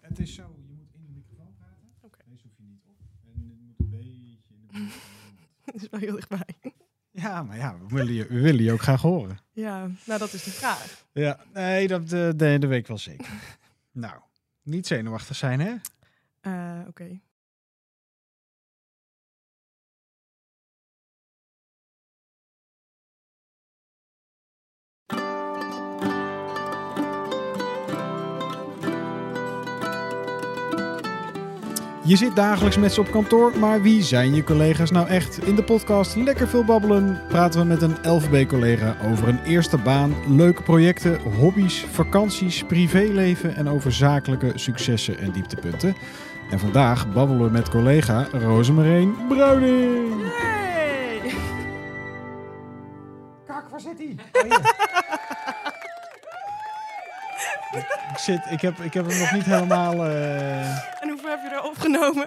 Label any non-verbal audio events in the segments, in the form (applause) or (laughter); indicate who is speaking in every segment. Speaker 1: Het is zo, je moet in de microfoon praten.
Speaker 2: Oké.
Speaker 1: Deze hoef je niet op. En dit moet een beetje in de buurt van je mond.
Speaker 2: (laughs) Dat is wel heel dichtbij.
Speaker 1: (laughs) Ja, maar ja, we willen, je, (laughs) we willen je ook graag horen.
Speaker 2: Ja, nou dat is de vraag.
Speaker 1: Ja, nee, dat, eh nee, dat weet ik wel zeker. (laughs) nou, niet zenuwachtig zijn, hè?
Speaker 2: Eh, Oké.
Speaker 1: Je zit dagelijks met ze op kantoor, maar wie zijn je collega's nou echt? In de podcast Lekker Veel Babbelen praten we met een LVB-collega over een eerste baan, leuke projecten, hobby's, vakanties, privéleven en over zakelijke successen en dieptepunten. En vandaag babbelen we met collega Rosemarijn Bruining.
Speaker 2: Hey!
Speaker 1: Kak, waar zit hij? ik, ik zit, ik heb, ik heb hem nog niet helemaal... eh,
Speaker 2: En hoeveel heb je er opgenomen?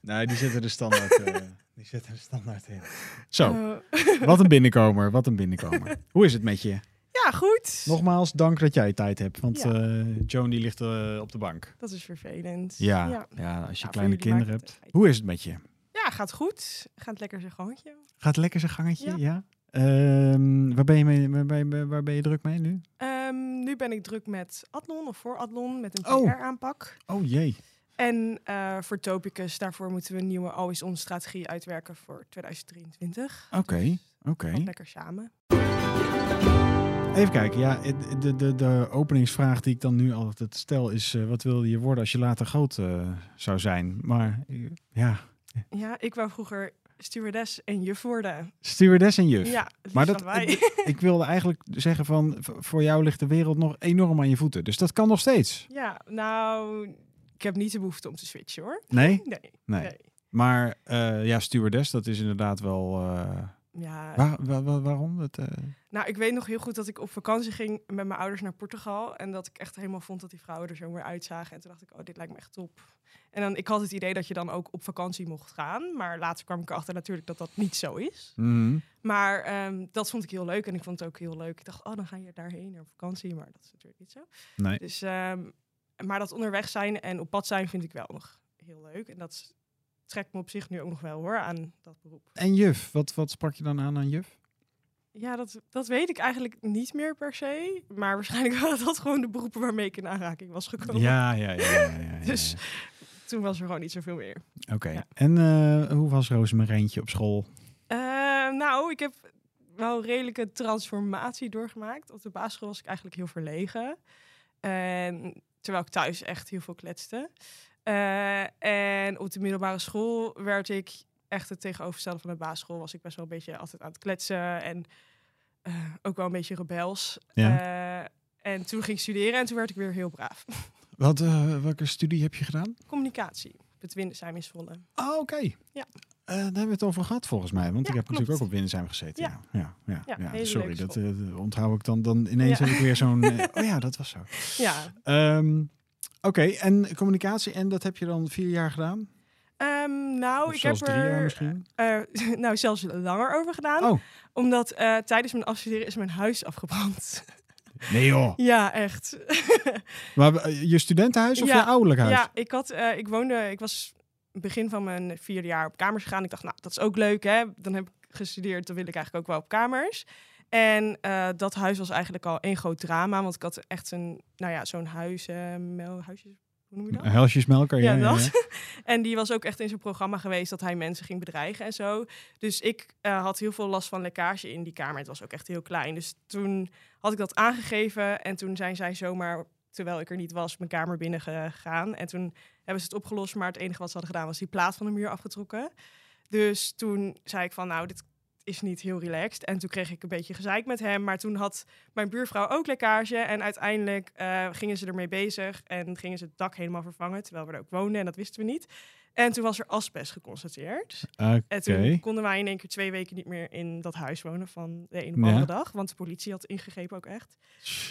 Speaker 1: Nee, die zitten er standaard, (laughs) eh, die zitten er standaard in. Zo.
Speaker 2: Eh,
Speaker 1: Wat een binnenkomer, wat een binnenkomer. Hoe is het met je?
Speaker 2: ja, goed.
Speaker 1: Nogmaals, dank dat jij tijd hebt, want
Speaker 2: Ja.
Speaker 1: eh, Joan die ligt eh, op de bank.
Speaker 2: Dat is vervelend.
Speaker 1: Ja,
Speaker 2: Ja,
Speaker 1: ja. als je
Speaker 2: Ja,
Speaker 1: kleine
Speaker 2: voor jullie
Speaker 1: kinderen
Speaker 2: maakt het
Speaker 1: hebt.
Speaker 2: uit.
Speaker 1: Hoe is het met je?
Speaker 2: Ja, gaat goed. Gaat lekker zijn gangetje.
Speaker 1: Gaat lekker zijn gangetje, ja?
Speaker 2: Ja.
Speaker 1: Ehm, waar, ben je mee, waar, ben je, waar ben je druk mee nu?
Speaker 2: Ehm, nu ben ik druk met Adlon of voor Adlon met een
Speaker 1: Oh.
Speaker 2: PR-aanpak.
Speaker 1: Oh jee.
Speaker 2: En eh, voor Topicus, daarvoor moeten we een nieuwe Always On strategie uitwerken voor 2023.
Speaker 1: Oké, oké.
Speaker 2: Gaat lekker samen.
Speaker 1: Even kijken, ja, de, de, de openingsvraag die ik dan nu altijd stel is... eh, wat wil je worden als je later groot eh, zou zijn? Maar eh, ja,
Speaker 2: Ja, ik wou vroeger stewardess en juf worden.
Speaker 1: stewardess en juf.
Speaker 2: Ja, dus het
Speaker 1: Maar
Speaker 2: liefst
Speaker 1: dat-
Speaker 2: allebei.
Speaker 1: (laughs) Ik wilde eigenlijk zeggen van, v- voor jou ligt de wereld nog enorm aan je voeten. Dus dat kan nog steeds.
Speaker 2: Ja, nou, ik heb niet de behoefte om te switchen hoor.
Speaker 1: Nee?
Speaker 2: Nee.
Speaker 1: Nee. Maar eh, ja, stewardess, dat is inderdaad wel... eh,
Speaker 2: Ja,
Speaker 1: waar- wa- wa- waarom? Dat, eh,
Speaker 2: nou, ik weet nog heel goed dat ik op vakantie ging met mijn ouders naar Portugal. En dat ik echt helemaal vond dat die vrouwen er zo weer uitzagen. En toen dacht ik, oh, dit lijkt me echt top. En dan, ik had het idee dat je dan ook op vakantie mocht gaan. Maar later kwam ik erachter natuurlijk dat dat niet zo is.
Speaker 1: mhm.
Speaker 2: Maar ehm, dat vond ik heel leuk. En ik vond het ook heel leuk. Ik dacht, oh, dan ga je daarheen naar vakantie. Maar dat is natuurlijk niet zo.
Speaker 1: Nee.
Speaker 2: Dus, ehm, maar dat onderweg zijn en op pad zijn vind ik wel nog heel leuk. En dat s- trekt me op zich nu ook nog wel hoor aan dat beroep.
Speaker 1: En juf, wat, wat sprak je dan aan aan juf?
Speaker 2: Ja, dat, dat weet ik eigenlijk niet meer per se. Maar waarschijnlijk (laughs) waren dat gewoon de beroepen waarmee ik in aanraking was gekomen.
Speaker 1: Ja, ja, ja. ja, ja, ja.
Speaker 2: (laughs) Dus- Toen was er gewoon niet zoveel meer.
Speaker 1: Oké.
Speaker 2: ja.
Speaker 1: En eh, hoe was Rosemarijntje op school?
Speaker 2: Eh, nou, ik heb wel redelijke transformatie doorgemaakt. Op de basisschool was ik eigenlijk heel verlegen. En, terwijl ik thuis echt heel veel kletste. Eh, en op de middelbare school werd ik echt het tegenovergestelde van de basisschool. Was ik best wel een beetje altijd aan het kletsen en eh, ook wel een beetje rebels.
Speaker 1: Ja.
Speaker 2: Eh, en toen ging ik studeren en toen werd ik weer heel braaf. (laughs)
Speaker 1: Wat, eh, welke studie heb je gedaan?
Speaker 2: Communicatie. Het Windesheim is volle.
Speaker 1: Ah, oké.
Speaker 2: Ja.
Speaker 1: Eh, daar hebben we het over gehad volgens mij. Want
Speaker 2: Ja,
Speaker 1: ik heb
Speaker 2: klopt.
Speaker 1: natuurlijk ook op Windersheim gezeten. Ja.
Speaker 2: Ja.
Speaker 1: Ja, ja, ja,
Speaker 2: Ja, hele
Speaker 1: sorry,
Speaker 2: leuke
Speaker 1: dat eh, onthoud ik dan. Dan ineens
Speaker 2: Ja.
Speaker 1: heb ik weer
Speaker 2: (laughs)
Speaker 1: zo'n... eh, oh ja, dat was zo.
Speaker 2: Ja,
Speaker 1: Ehm, oké, en communicatie. En dat heb je dan vier jaar gedaan?
Speaker 2: Ehm, nou,
Speaker 1: of
Speaker 2: ik
Speaker 1: zelfs
Speaker 2: heb
Speaker 1: drie
Speaker 2: er...
Speaker 1: jaar misschien?
Speaker 2: eh, (laughs) nou zelfs langer over gedaan.
Speaker 1: Oh.
Speaker 2: Omdat eh, tijdens mijn afstuderen is mijn huis afgebrand. (laughs)
Speaker 1: Nee joh.
Speaker 2: ja, echt.
Speaker 1: Maar eh, je studentenhuis of
Speaker 2: Ja,
Speaker 1: je ouderlijk huis?
Speaker 2: ja, ik, had, eh, ik woonde, ik was begin van mijn vierde jaar op kamers gegaan. Ik dacht, nou, dat is ook leuk, hè. Dan heb ik gestudeerd, dan wil ik eigenlijk ook wel op kamers. En eh, dat huis was eigenlijk al één groot drama. Want ik had echt een, nou ja, zo'n huis, eh, mel, huisjes, hoe noem je dat?
Speaker 1: Helsjesmelker, ja.
Speaker 2: Ja,
Speaker 1: ja,
Speaker 2: dat.
Speaker 1: ja.
Speaker 2: En die was ook echt in zijn programma geweest dat hij mensen ging bedreigen en zo. Dus ik eh, had heel veel last van lekkage in die kamer. Het was ook echt heel klein. Dus toen had ik dat aangegeven en toen zijn zij zomaar, terwijl ik er niet was, mijn kamer binnen gegaan. En toen hebben ze het opgelost, maar het enige wat ze hadden gedaan was die plaat van de muur afgetrokken. Dus toen zei ik van, nou, dit is niet heel relaxed. En toen kreeg ik een beetje gezeik met hem. Maar toen had mijn buurvrouw ook lekkage. En uiteindelijk eh, gingen ze ermee bezig en gingen ze het dak helemaal vervangen. Terwijl we er ook woonden en dat wisten we niet. En toen was er asbest geconstateerd.
Speaker 1: Oké.
Speaker 2: En toen konden wij in één keer twee weken niet meer in dat huis wonen van de een op de
Speaker 1: Ja.
Speaker 2: andere dag. Want de politie had ingegrepen ook echt.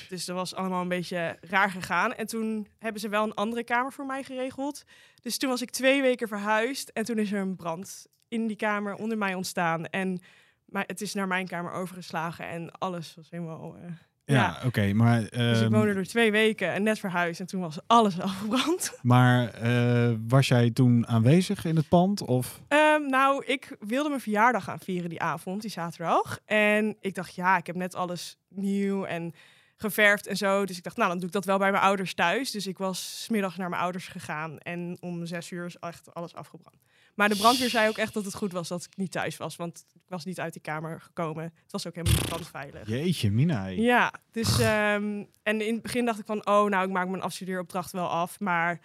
Speaker 2: Dus dat was allemaal een beetje raar gegaan. En toen hebben ze wel een andere kamer voor mij geregeld. Dus toen was ik twee weken verhuisd. En toen is er een brand in die kamer onder mij ontstaan. En mij- het is naar mijn kamer overgeslagen. En alles was helemaal eh,
Speaker 1: Ja,
Speaker 2: Ja.
Speaker 1: oké. maar
Speaker 2: Dus ik
Speaker 1: ehm,
Speaker 2: woonde er twee weken en net verhuisd en toen was alles (laughs) afgebrand.
Speaker 1: maar eh, was jij toen aanwezig in het pand? Of
Speaker 2: Ehm, nou, ik wilde mijn verjaardag gaan vieren die avond, die zaterdag. En ik dacht, ja, ik heb net alles nieuw en geverfd en zo. Dus ik dacht, nou, dan doe ik dat wel bij mijn ouders thuis. Dus ik was 's middags naar mijn ouders gegaan en om zes uur is echt alles afgebrand. Maar de brandweer zei ook echt dat het goed was dat ik niet thuis was, want ik was niet uit die kamer gekomen. Het was ook helemaal niet brandveilig.
Speaker 1: jeetje, Mina. hé.
Speaker 2: Ja, dus ehm, en in het begin dacht ik van, oh, nou, ik maak mijn afstudeeropdracht wel af, maar...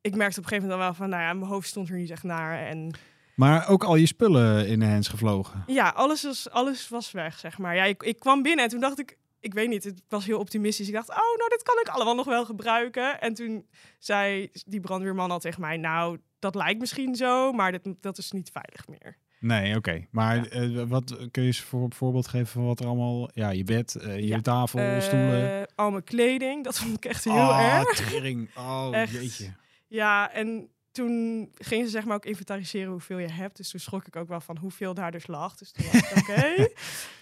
Speaker 2: Ik merkte op een gegeven moment dan wel van, nou ja, mijn hoofd stond er niet echt naar. En
Speaker 1: Maar ook al je spullen in de hands gevlogen.
Speaker 2: Ja, alles was, alles was weg, zeg maar. Ja, ik, ik kwam binnen en toen dacht ik, ik weet niet, het was heel optimistisch. Ik dacht, oh, nou, dit kan ik allemaal nog wel gebruiken. En toen zei die brandweerman al tegen mij, nou, dat lijkt misschien zo, maar dat, dat is niet veilig meer.
Speaker 1: Nee, oké. Maar
Speaker 2: Ja.
Speaker 1: eh, wat kun je eens voor, een voorbeeld geven van wat er allemaal... Ja, je bed, eh, je
Speaker 2: Ja.
Speaker 1: tafel, stoelen.
Speaker 2: Eh, al mijn kleding, dat vond ik echt heel
Speaker 1: Ah,
Speaker 2: erg.
Speaker 1: tering. Oh,
Speaker 2: Echt.
Speaker 1: jeetje.
Speaker 2: Ja, en toen gingen ze zeg maar ook inventariseren hoeveel je hebt. Dus toen schrok ik ook wel van hoeveel daar dus lag. Dus toen was ik, oké.
Speaker 1: (laughs)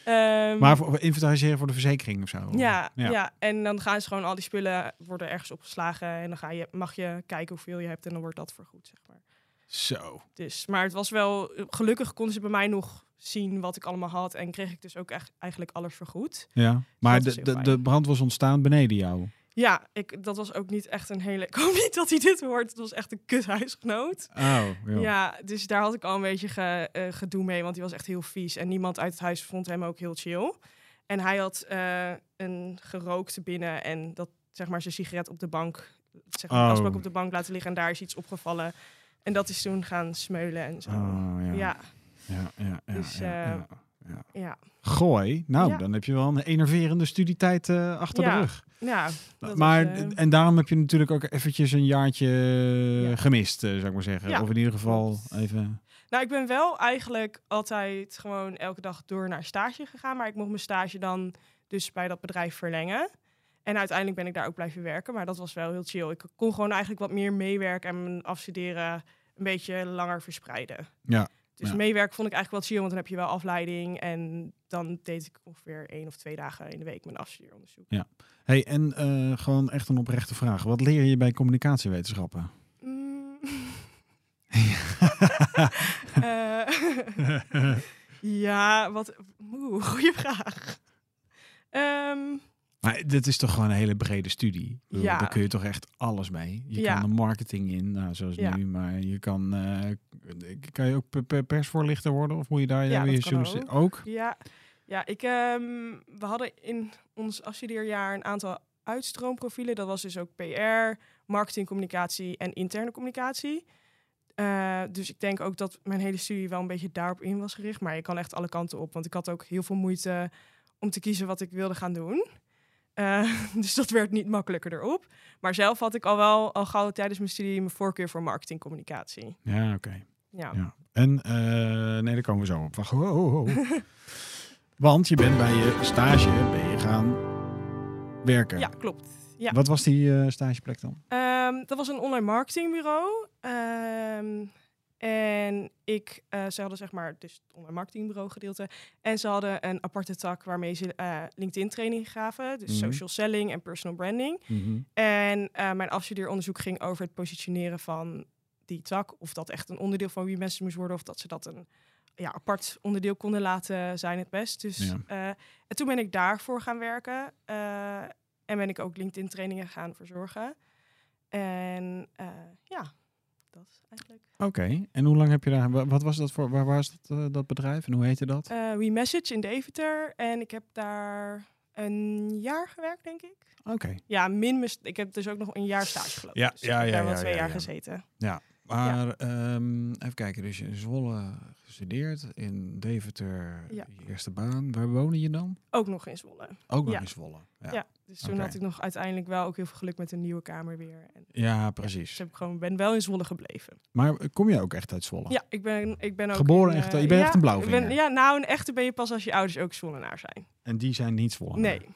Speaker 2: Ehm,
Speaker 1: Maar voor, inventariseren voor de verzekering of zo?
Speaker 2: Ja, ja. en dan gaan ze gewoon al die spullen worden ergens opgeslagen. En dan ga je, mag je kijken hoeveel je hebt en dan wordt dat vergoed, zeg maar.
Speaker 1: Zo.
Speaker 2: Dus, maar het was wel... Gelukkig konden ze bij mij nog zien wat ik allemaal had. En kreeg ik dus ook echt, eigenlijk alles vergoed.
Speaker 1: Ja. Maar
Speaker 2: is
Speaker 1: de,
Speaker 2: heel
Speaker 1: de,
Speaker 2: fijn.
Speaker 1: de brand was ontstaan beneden jou.
Speaker 2: Ja, ik, dat was ook niet echt een hele... (laughs) Ik hoop niet dat hij dit hoort. Het was echt een kuthuisgenoot.
Speaker 1: Oh,
Speaker 2: Ja.
Speaker 1: joh.
Speaker 2: dus daar had ik al een beetje ge- eh, gedoe mee. Want die was echt heel vies. En niemand uit het huis vond hem ook heel chill. En hij had eh, een gerookte binnen. En dat, zeg maar, zijn sigaret op de bank... Zeg maar,
Speaker 1: Oh.
Speaker 2: asbak op de bank laten liggen. En daar is iets opgevallen. En dat is toen gaan smeulen en zo.
Speaker 1: Oh, ja.
Speaker 2: ja.
Speaker 1: Ja,
Speaker 2: ja.
Speaker 1: ja, ja,
Speaker 2: Dus,
Speaker 1: ja,
Speaker 2: eh,
Speaker 1: ja. Gooi. Nou,
Speaker 2: Ja.
Speaker 1: dan heb je wel een enerverende studietijd eh, achter de
Speaker 2: Ja,
Speaker 1: rug.
Speaker 2: Ja, dat
Speaker 1: maar,
Speaker 2: was, eh,
Speaker 1: en daarom heb je natuurlijk ook eventjes een jaartje
Speaker 2: Ja.
Speaker 1: gemist, eh, zou ik maar zeggen.
Speaker 2: Ja,
Speaker 1: Of in ieder geval
Speaker 2: klopt.
Speaker 1: even...
Speaker 2: Nou, ik ben wel eigenlijk altijd gewoon elke dag door naar stage gegaan. Maar ik mocht mijn stage dan dus bij dat bedrijf verlengen. En uiteindelijk ben ik daar ook blijven werken. Maar dat was wel heel chill. Ik kon gewoon eigenlijk wat meer meewerken en mijn afstuderen een beetje langer verspreiden.
Speaker 1: Ja,
Speaker 2: Dus
Speaker 1: ja.
Speaker 2: meewerken vond ik eigenlijk wel chill, want dan heb je wel afleiding. En dan deed ik ongeveer één of twee dagen in de week mijn afstudeeronderzoek.
Speaker 1: hey, en eh, gewoon echt een oprechte vraag. Wat leer je bij communicatiewetenschappen?
Speaker 2: Mm. (laughs) Eh, (laughs) Ja, wat. Oeh, goede vraag. Ehm,
Speaker 1: maar dit is toch gewoon een hele brede studie? Ik bedoel,
Speaker 2: Ja.
Speaker 1: Daar kun je toch echt alles mee? Je
Speaker 2: Ja.
Speaker 1: kan de marketing in, nou, zoals
Speaker 2: Ja.
Speaker 1: nu. Maar je kan... eh, kan je ook pe- pe- persvoorlichter worden? Of moet je daar
Speaker 2: Ja,
Speaker 1: weer
Speaker 2: dat kan
Speaker 1: journalist- ook?
Speaker 2: ja, ja ik, ehm, we hadden in ons afstudeerjaar een aantal uitstroomprofielen. Dat was dus ook PR, marketing, communicatie en interne communicatie. Eh, dus ik denk ook dat mijn hele studie wel een beetje daarop in was gericht. Maar je kan echt alle kanten op, want ik had ook heel veel moeite om te kiezen wat ik wilde gaan doen. Eh, (laughs) dus dat werd niet makkelijker erop. Maar zelf had ik al wel al gauw tijdens mijn studie mijn voorkeur voor marketing communicatie.
Speaker 1: Ja, oké.
Speaker 2: Ja.
Speaker 1: Ja. En, eh, nee, daar komen we zo op. Wacht, ho, ho, ho.
Speaker 2: (laughs)
Speaker 1: Want je bent bij je stage ben je gaan werken.
Speaker 2: Ja, klopt. ja.
Speaker 1: Wat was die eh, stageplek dan?
Speaker 2: Ehm, dat was een online marketingbureau. Ehm, en ik, eh, ze hadden zeg maar dus het online marketingbureau gedeelte. En ze hadden een aparte tak waarmee ze eh, LinkedIn training gaven. Dus
Speaker 1: Mhm.
Speaker 2: social selling en personal branding. En eh, mijn afstudeeronderzoek ging over het positioneren van die tak. Of dat echt een onderdeel van wie mensen moest worden. Of dat ze dat een ja, apart onderdeel konden laten zijn het best. Dus,
Speaker 1: Ja.
Speaker 2: eh, en toen ben ik daarvoor gaan werken. eh, en ben ik ook LinkedIn trainingen gaan verzorgen. En eh, ja, dat is eigenlijk.
Speaker 1: Oké, en hoe lang heb je daar... wa- Wat was dat voor... Waar was dat, eh, dat bedrijf en hoe heette dat?
Speaker 2: eh we Message in Deventer. En ik heb daar een jaar gewerkt, denk ik.
Speaker 1: Oké.
Speaker 2: Eh, Ja, min mijn st- Ik heb dus ook nog een jaar stage gelopen.
Speaker 1: Ja,
Speaker 2: dus ik
Speaker 1: ja,
Speaker 2: heb
Speaker 1: ja,
Speaker 2: daar wel
Speaker 1: ja,
Speaker 2: twee
Speaker 1: ja,
Speaker 2: jaar
Speaker 1: ja.
Speaker 2: gezeten.
Speaker 1: Maar ehm, even kijken, dus je in Zwolle gestudeerd, in Deventer
Speaker 2: Ja.
Speaker 1: je eerste baan. Waar woonde je dan?
Speaker 2: Ook nog in Zwolle.
Speaker 1: Ook nog
Speaker 2: Ja.
Speaker 1: in Zwolle. Ja,
Speaker 2: Ja.
Speaker 1: ja.
Speaker 2: Dus toen
Speaker 1: Oké.
Speaker 2: had ik nog uiteindelijk wel ook heel veel geluk met een nieuwe kamer weer. En dus
Speaker 1: precies.
Speaker 2: heb ik gewoon, ben wel in Zwolle gebleven.
Speaker 1: Maar eh, kom je ook echt uit Zwolle?
Speaker 2: Ja, ik ben, ik ben ook...
Speaker 1: Geboren
Speaker 2: in,
Speaker 1: echt-
Speaker 2: eh,
Speaker 1: je bent echt een
Speaker 2: ik
Speaker 1: blauwvinger.
Speaker 2: ben- Ja, nou, een echte ben je pas als je ouders ook Zwollenaar zijn.
Speaker 1: En die zijn niet Zwolle.
Speaker 2: Nee,
Speaker 1: Maar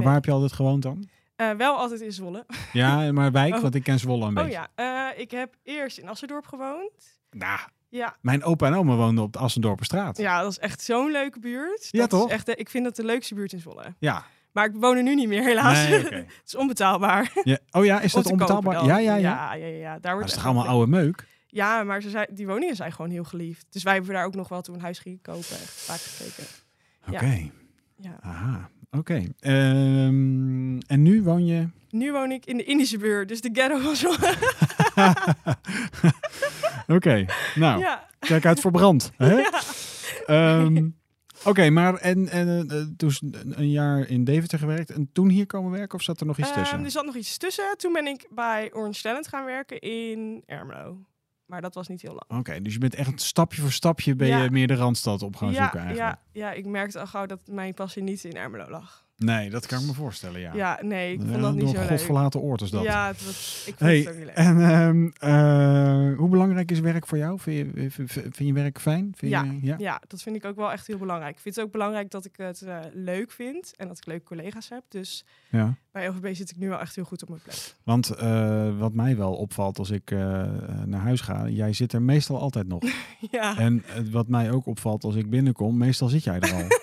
Speaker 2: Nee.
Speaker 1: waar heb je altijd gewoond dan?
Speaker 2: Eh, wel altijd in Zwolle. (laughs)
Speaker 1: Ja, maar wijk,
Speaker 2: Oh.
Speaker 1: want ik ken Zwolle een
Speaker 2: Oh
Speaker 1: beetje.
Speaker 2: ja, eh, ik heb eerst in Assendorp gewoond.
Speaker 1: Nou,
Speaker 2: Ja,
Speaker 1: mijn opa en oma woonden op de Assendorperstraat.
Speaker 2: ja dat is echt zo'n leuke buurt.
Speaker 1: Ja,
Speaker 2: Dat is
Speaker 1: toch?
Speaker 2: echt, de- ik vind dat de leukste buurt in Zwolle.
Speaker 1: ja.
Speaker 2: Maar ik woon er nu niet meer, helaas. (laughs)
Speaker 1: Nee, oké.
Speaker 2: het is onbetaalbaar.
Speaker 1: Ja. Oh ja, is
Speaker 2: om
Speaker 1: dat
Speaker 2: te kopen
Speaker 1: onbetaalbaar?
Speaker 2: dan.
Speaker 1: Ja, ja, ja.
Speaker 2: ja, ja, ja. Daar
Speaker 1: Maar dat
Speaker 2: wordt
Speaker 1: is toch
Speaker 2: echt
Speaker 1: allemaal
Speaker 2: wel-
Speaker 1: oude meuk?
Speaker 2: Ja, maar ze zei, die woningen zijn gewoon heel geliefd. Dus wij hebben daar ook nog wel toen we een huis gingen kopen. Echt vaak gekeken.
Speaker 1: Oké,
Speaker 2: Ja. Ja.
Speaker 1: aha. Oké. Ehm, en nu woon je...
Speaker 2: Nu woon ik in de Indische buurt, dus de ghetto was wel...
Speaker 1: Oké, nou,
Speaker 2: (laughs) ja.
Speaker 1: kijk uit voor brand. Hè?
Speaker 2: (laughs) Ja.
Speaker 1: Ehm, Oké, maar en, en eh, eh, toen is een een jaar in Deventer gewerkt en toen hier komen werken of zat er nog iets tussen?
Speaker 2: Ehm, er zat nog iets tussen. Toen ben ik bij Orange Talent gaan werken in Ermelo. Maar dat was niet heel lang.
Speaker 1: Oké, dus je bent echt stapje voor stapje ben
Speaker 2: Ja.
Speaker 1: je meer de Randstad op gaan
Speaker 2: ja,
Speaker 1: zoeken eigenlijk.
Speaker 2: ja, ja, ik merkte al gauw dat mijn passie niet in Ermelo lag.
Speaker 1: Nee, dat kan ik me voorstellen, ja.
Speaker 2: Ja, nee, ik vond
Speaker 1: Ja,
Speaker 2: dat niet
Speaker 1: door
Speaker 2: zo
Speaker 1: een
Speaker 2: leuk.
Speaker 1: godverlaten oord is dat.
Speaker 2: Ja, het was, ik vond
Speaker 1: Hey,
Speaker 2: het ook niet leuk.
Speaker 1: en ehm, eh, hoe belangrijk is werk voor jou? Vind je, vind- vind je werk fijn? Vind
Speaker 2: Ja.
Speaker 1: Je, ja?
Speaker 2: Ja, dat vind ik ook wel echt heel belangrijk. Ik vind het ook belangrijk dat ik het eh, leuk vind en dat ik leuke collega's heb. Dus
Speaker 1: ja.
Speaker 2: bij LVB zit ik nu wel echt heel goed op mijn plek.
Speaker 1: Want eh, wat mij wel opvalt als ik eh, naar huis ga, jij zit er meestal altijd nog.
Speaker 2: (laughs) ja.
Speaker 1: En eh, wat mij ook opvalt als ik binnenkom, meestal zit jij
Speaker 2: (laughs)
Speaker 1: er al.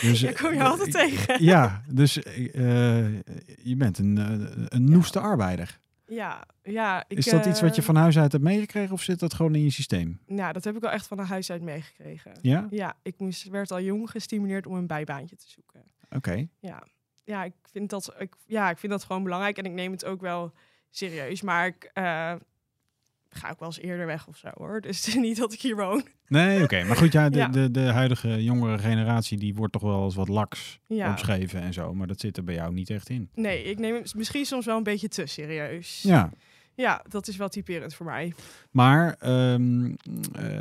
Speaker 1: Dus,
Speaker 2: Ik kom je altijd
Speaker 1: eh,
Speaker 2: tegen.
Speaker 1: Ja, dus eh, eh, je bent een, eh, een noeste arbeider.
Speaker 2: Ja, ja. Ik,
Speaker 1: is dat iets wat je
Speaker 2: eh,
Speaker 1: van huis uit hebt meegekregen of zit dat gewoon in je systeem?
Speaker 2: Nou, dat heb ik wel echt van de huis uit meegekregen.
Speaker 1: Ja?
Speaker 2: Ja, ik moest, werd al jong gestimuleerd om een bijbaantje te zoeken.
Speaker 1: Oké.
Speaker 2: Ja, ja, ik, vind dat, ik, ja ik vind dat gewoon belangrijk en ik neem het ook wel serieus. Maar ik eh, ga ook wel eens eerder weg of zo hoor. (laughs) Dus het is niet dat ik hier woon.
Speaker 1: Nee, oké. Maar goed, ja, de,
Speaker 2: Ja.
Speaker 1: De, de huidige jongere generatie die wordt toch wel eens wat laks
Speaker 2: Ja.
Speaker 1: omschreven en zo. Maar dat zit er bij jou niet echt in.
Speaker 2: Nee, ik neem het misschien soms wel een beetje te serieus.
Speaker 1: Ja.
Speaker 2: Ja, dat is wel typerend voor mij.
Speaker 1: Maar ehm, eh,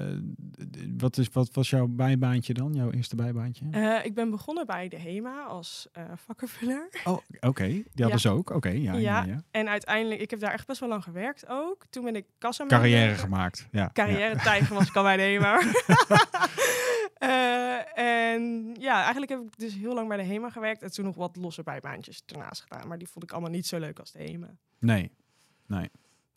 Speaker 1: wat, is, wat was jouw bijbaantje dan? Jouw eerste bijbaantje?
Speaker 2: Eh, ik ben begonnen bij de HEMA als eh, vakkenvuller.
Speaker 1: Oh, oké. Die hadden ze ook. Oké, ja, ja.
Speaker 2: Ja.
Speaker 1: ja.
Speaker 2: En uiteindelijk, ik heb daar echt best wel lang gewerkt ook. Toen ben ik kassa
Speaker 1: Carrière gemaakt. Ja. Ja.
Speaker 2: Carrière tijger was ik al bij de
Speaker 1: (laughs)
Speaker 2: HEMA. (laughs) Eh, en ja, eigenlijk heb ik dus heel lang bij de HEMA gewerkt. En toen nog wat losse bijbaantjes daarnaast gedaan. Maar die vond ik allemaal niet zo leuk als de HEMA. (laughs)
Speaker 1: Nee, nee.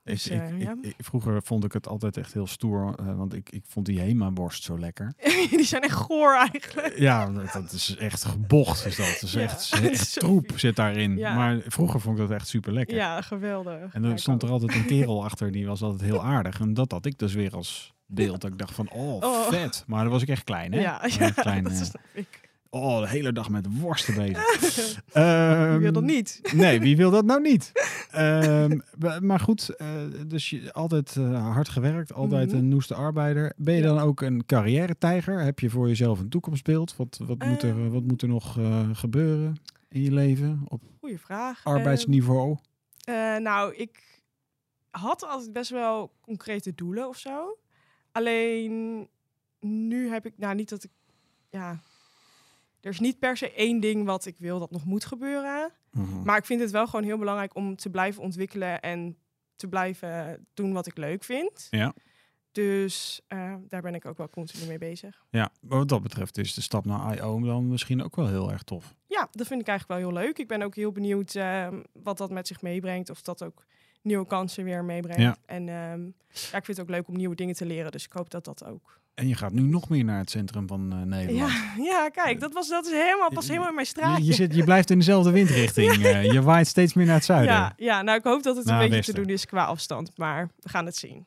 Speaker 2: Dus,
Speaker 1: ik,
Speaker 2: eh,
Speaker 1: ik-
Speaker 2: ja.
Speaker 1: ik- ik- vroeger vond ik het altijd echt heel stoer, eh, want ik, ik vond die Hema-worst zo lekker.
Speaker 2: die zijn echt goor eigenlijk.
Speaker 1: ja, dat, dat is echt gebocht, is dat. Dat is
Speaker 2: Ja, (laughs)
Speaker 1: echt,
Speaker 2: dat is
Speaker 1: echt
Speaker 2: zo
Speaker 1: troep
Speaker 2: vies.
Speaker 1: zit daarin.
Speaker 2: Ja.
Speaker 1: Maar vroeger vond ik dat echt super lekker.
Speaker 2: Ja, geweldig.
Speaker 1: En
Speaker 2: Ja,
Speaker 1: dan
Speaker 2: ik
Speaker 1: stond er
Speaker 2: ook.
Speaker 1: altijd een kerel
Speaker 2: (laughs)
Speaker 1: achter, die was altijd heel aardig. En dat had ik dus weer als beeld. Dat ik dacht van, oh,
Speaker 2: Oh.
Speaker 1: vet. Maar dan was ik echt klein, hè?
Speaker 2: Ja,
Speaker 1: Echt
Speaker 2: (laughs) ja,
Speaker 1: klein,
Speaker 2: dat
Speaker 1: eh,
Speaker 2: snap ik. (laughs)
Speaker 1: Oh, de hele dag met worsten bezig.
Speaker 2: Ik
Speaker 1: Ehm,
Speaker 2: wil dat niet.
Speaker 1: Nee, wie wil dat nou niet? Ehm, wa- maar goed, eh, dus je, altijd eh, hard gewerkt, altijd
Speaker 2: Mhm.
Speaker 1: een noeste arbeider. Ben je
Speaker 2: Ja.
Speaker 1: dan ook een carrière-tijger? Heb je voor jezelf een toekomstbeeld? Wat, wat, moet, er,
Speaker 2: Eh.
Speaker 1: wat moet er nog eh, gebeuren in je leven op
Speaker 2: Goeie vraag. Eh,
Speaker 1: arbeidsniveau?
Speaker 2: Eh, nou, ik had altijd best wel concrete doelen of zo. Alleen nu heb ik, nou niet dat ik, ja, er is niet per se één ding wat ik wil dat nog moet gebeuren.
Speaker 1: Mhm.
Speaker 2: Maar ik vind het wel gewoon heel belangrijk om te blijven ontwikkelen en te blijven doen wat ik leuk vind.
Speaker 1: Ja.
Speaker 2: Dus eh, daar ben ik ook wel continu mee bezig.
Speaker 1: Ja, maar wat dat betreft is de stap naar I.O. dan misschien ook wel heel erg tof.
Speaker 2: Ja, dat vind ik eigenlijk wel heel leuk. Ik ben ook heel benieuwd eh, wat dat met zich meebrengt. Of dat ook nieuwe kansen weer meebrengt.
Speaker 1: Ja.
Speaker 2: En ehm, ja, ik vind het ook leuk om nieuwe dingen te leren. Dus ik hoop dat dat ook.
Speaker 1: En je gaat nu nog meer naar het centrum van eh, Nederland.
Speaker 2: Ja, (laughs) ja, kijk, dat, was, dat is helemaal, pas helemaal in mijn straatje.
Speaker 1: Je, je, zit, je blijft in dezelfde
Speaker 2: (laughs)
Speaker 1: windrichting. eh, je waait steeds meer naar het zuiden.
Speaker 2: ja, ja, nou ik hoop dat het
Speaker 1: Naar
Speaker 2: een beetje
Speaker 1: westen.
Speaker 2: te doen is qua afstand. Maar we gaan het zien.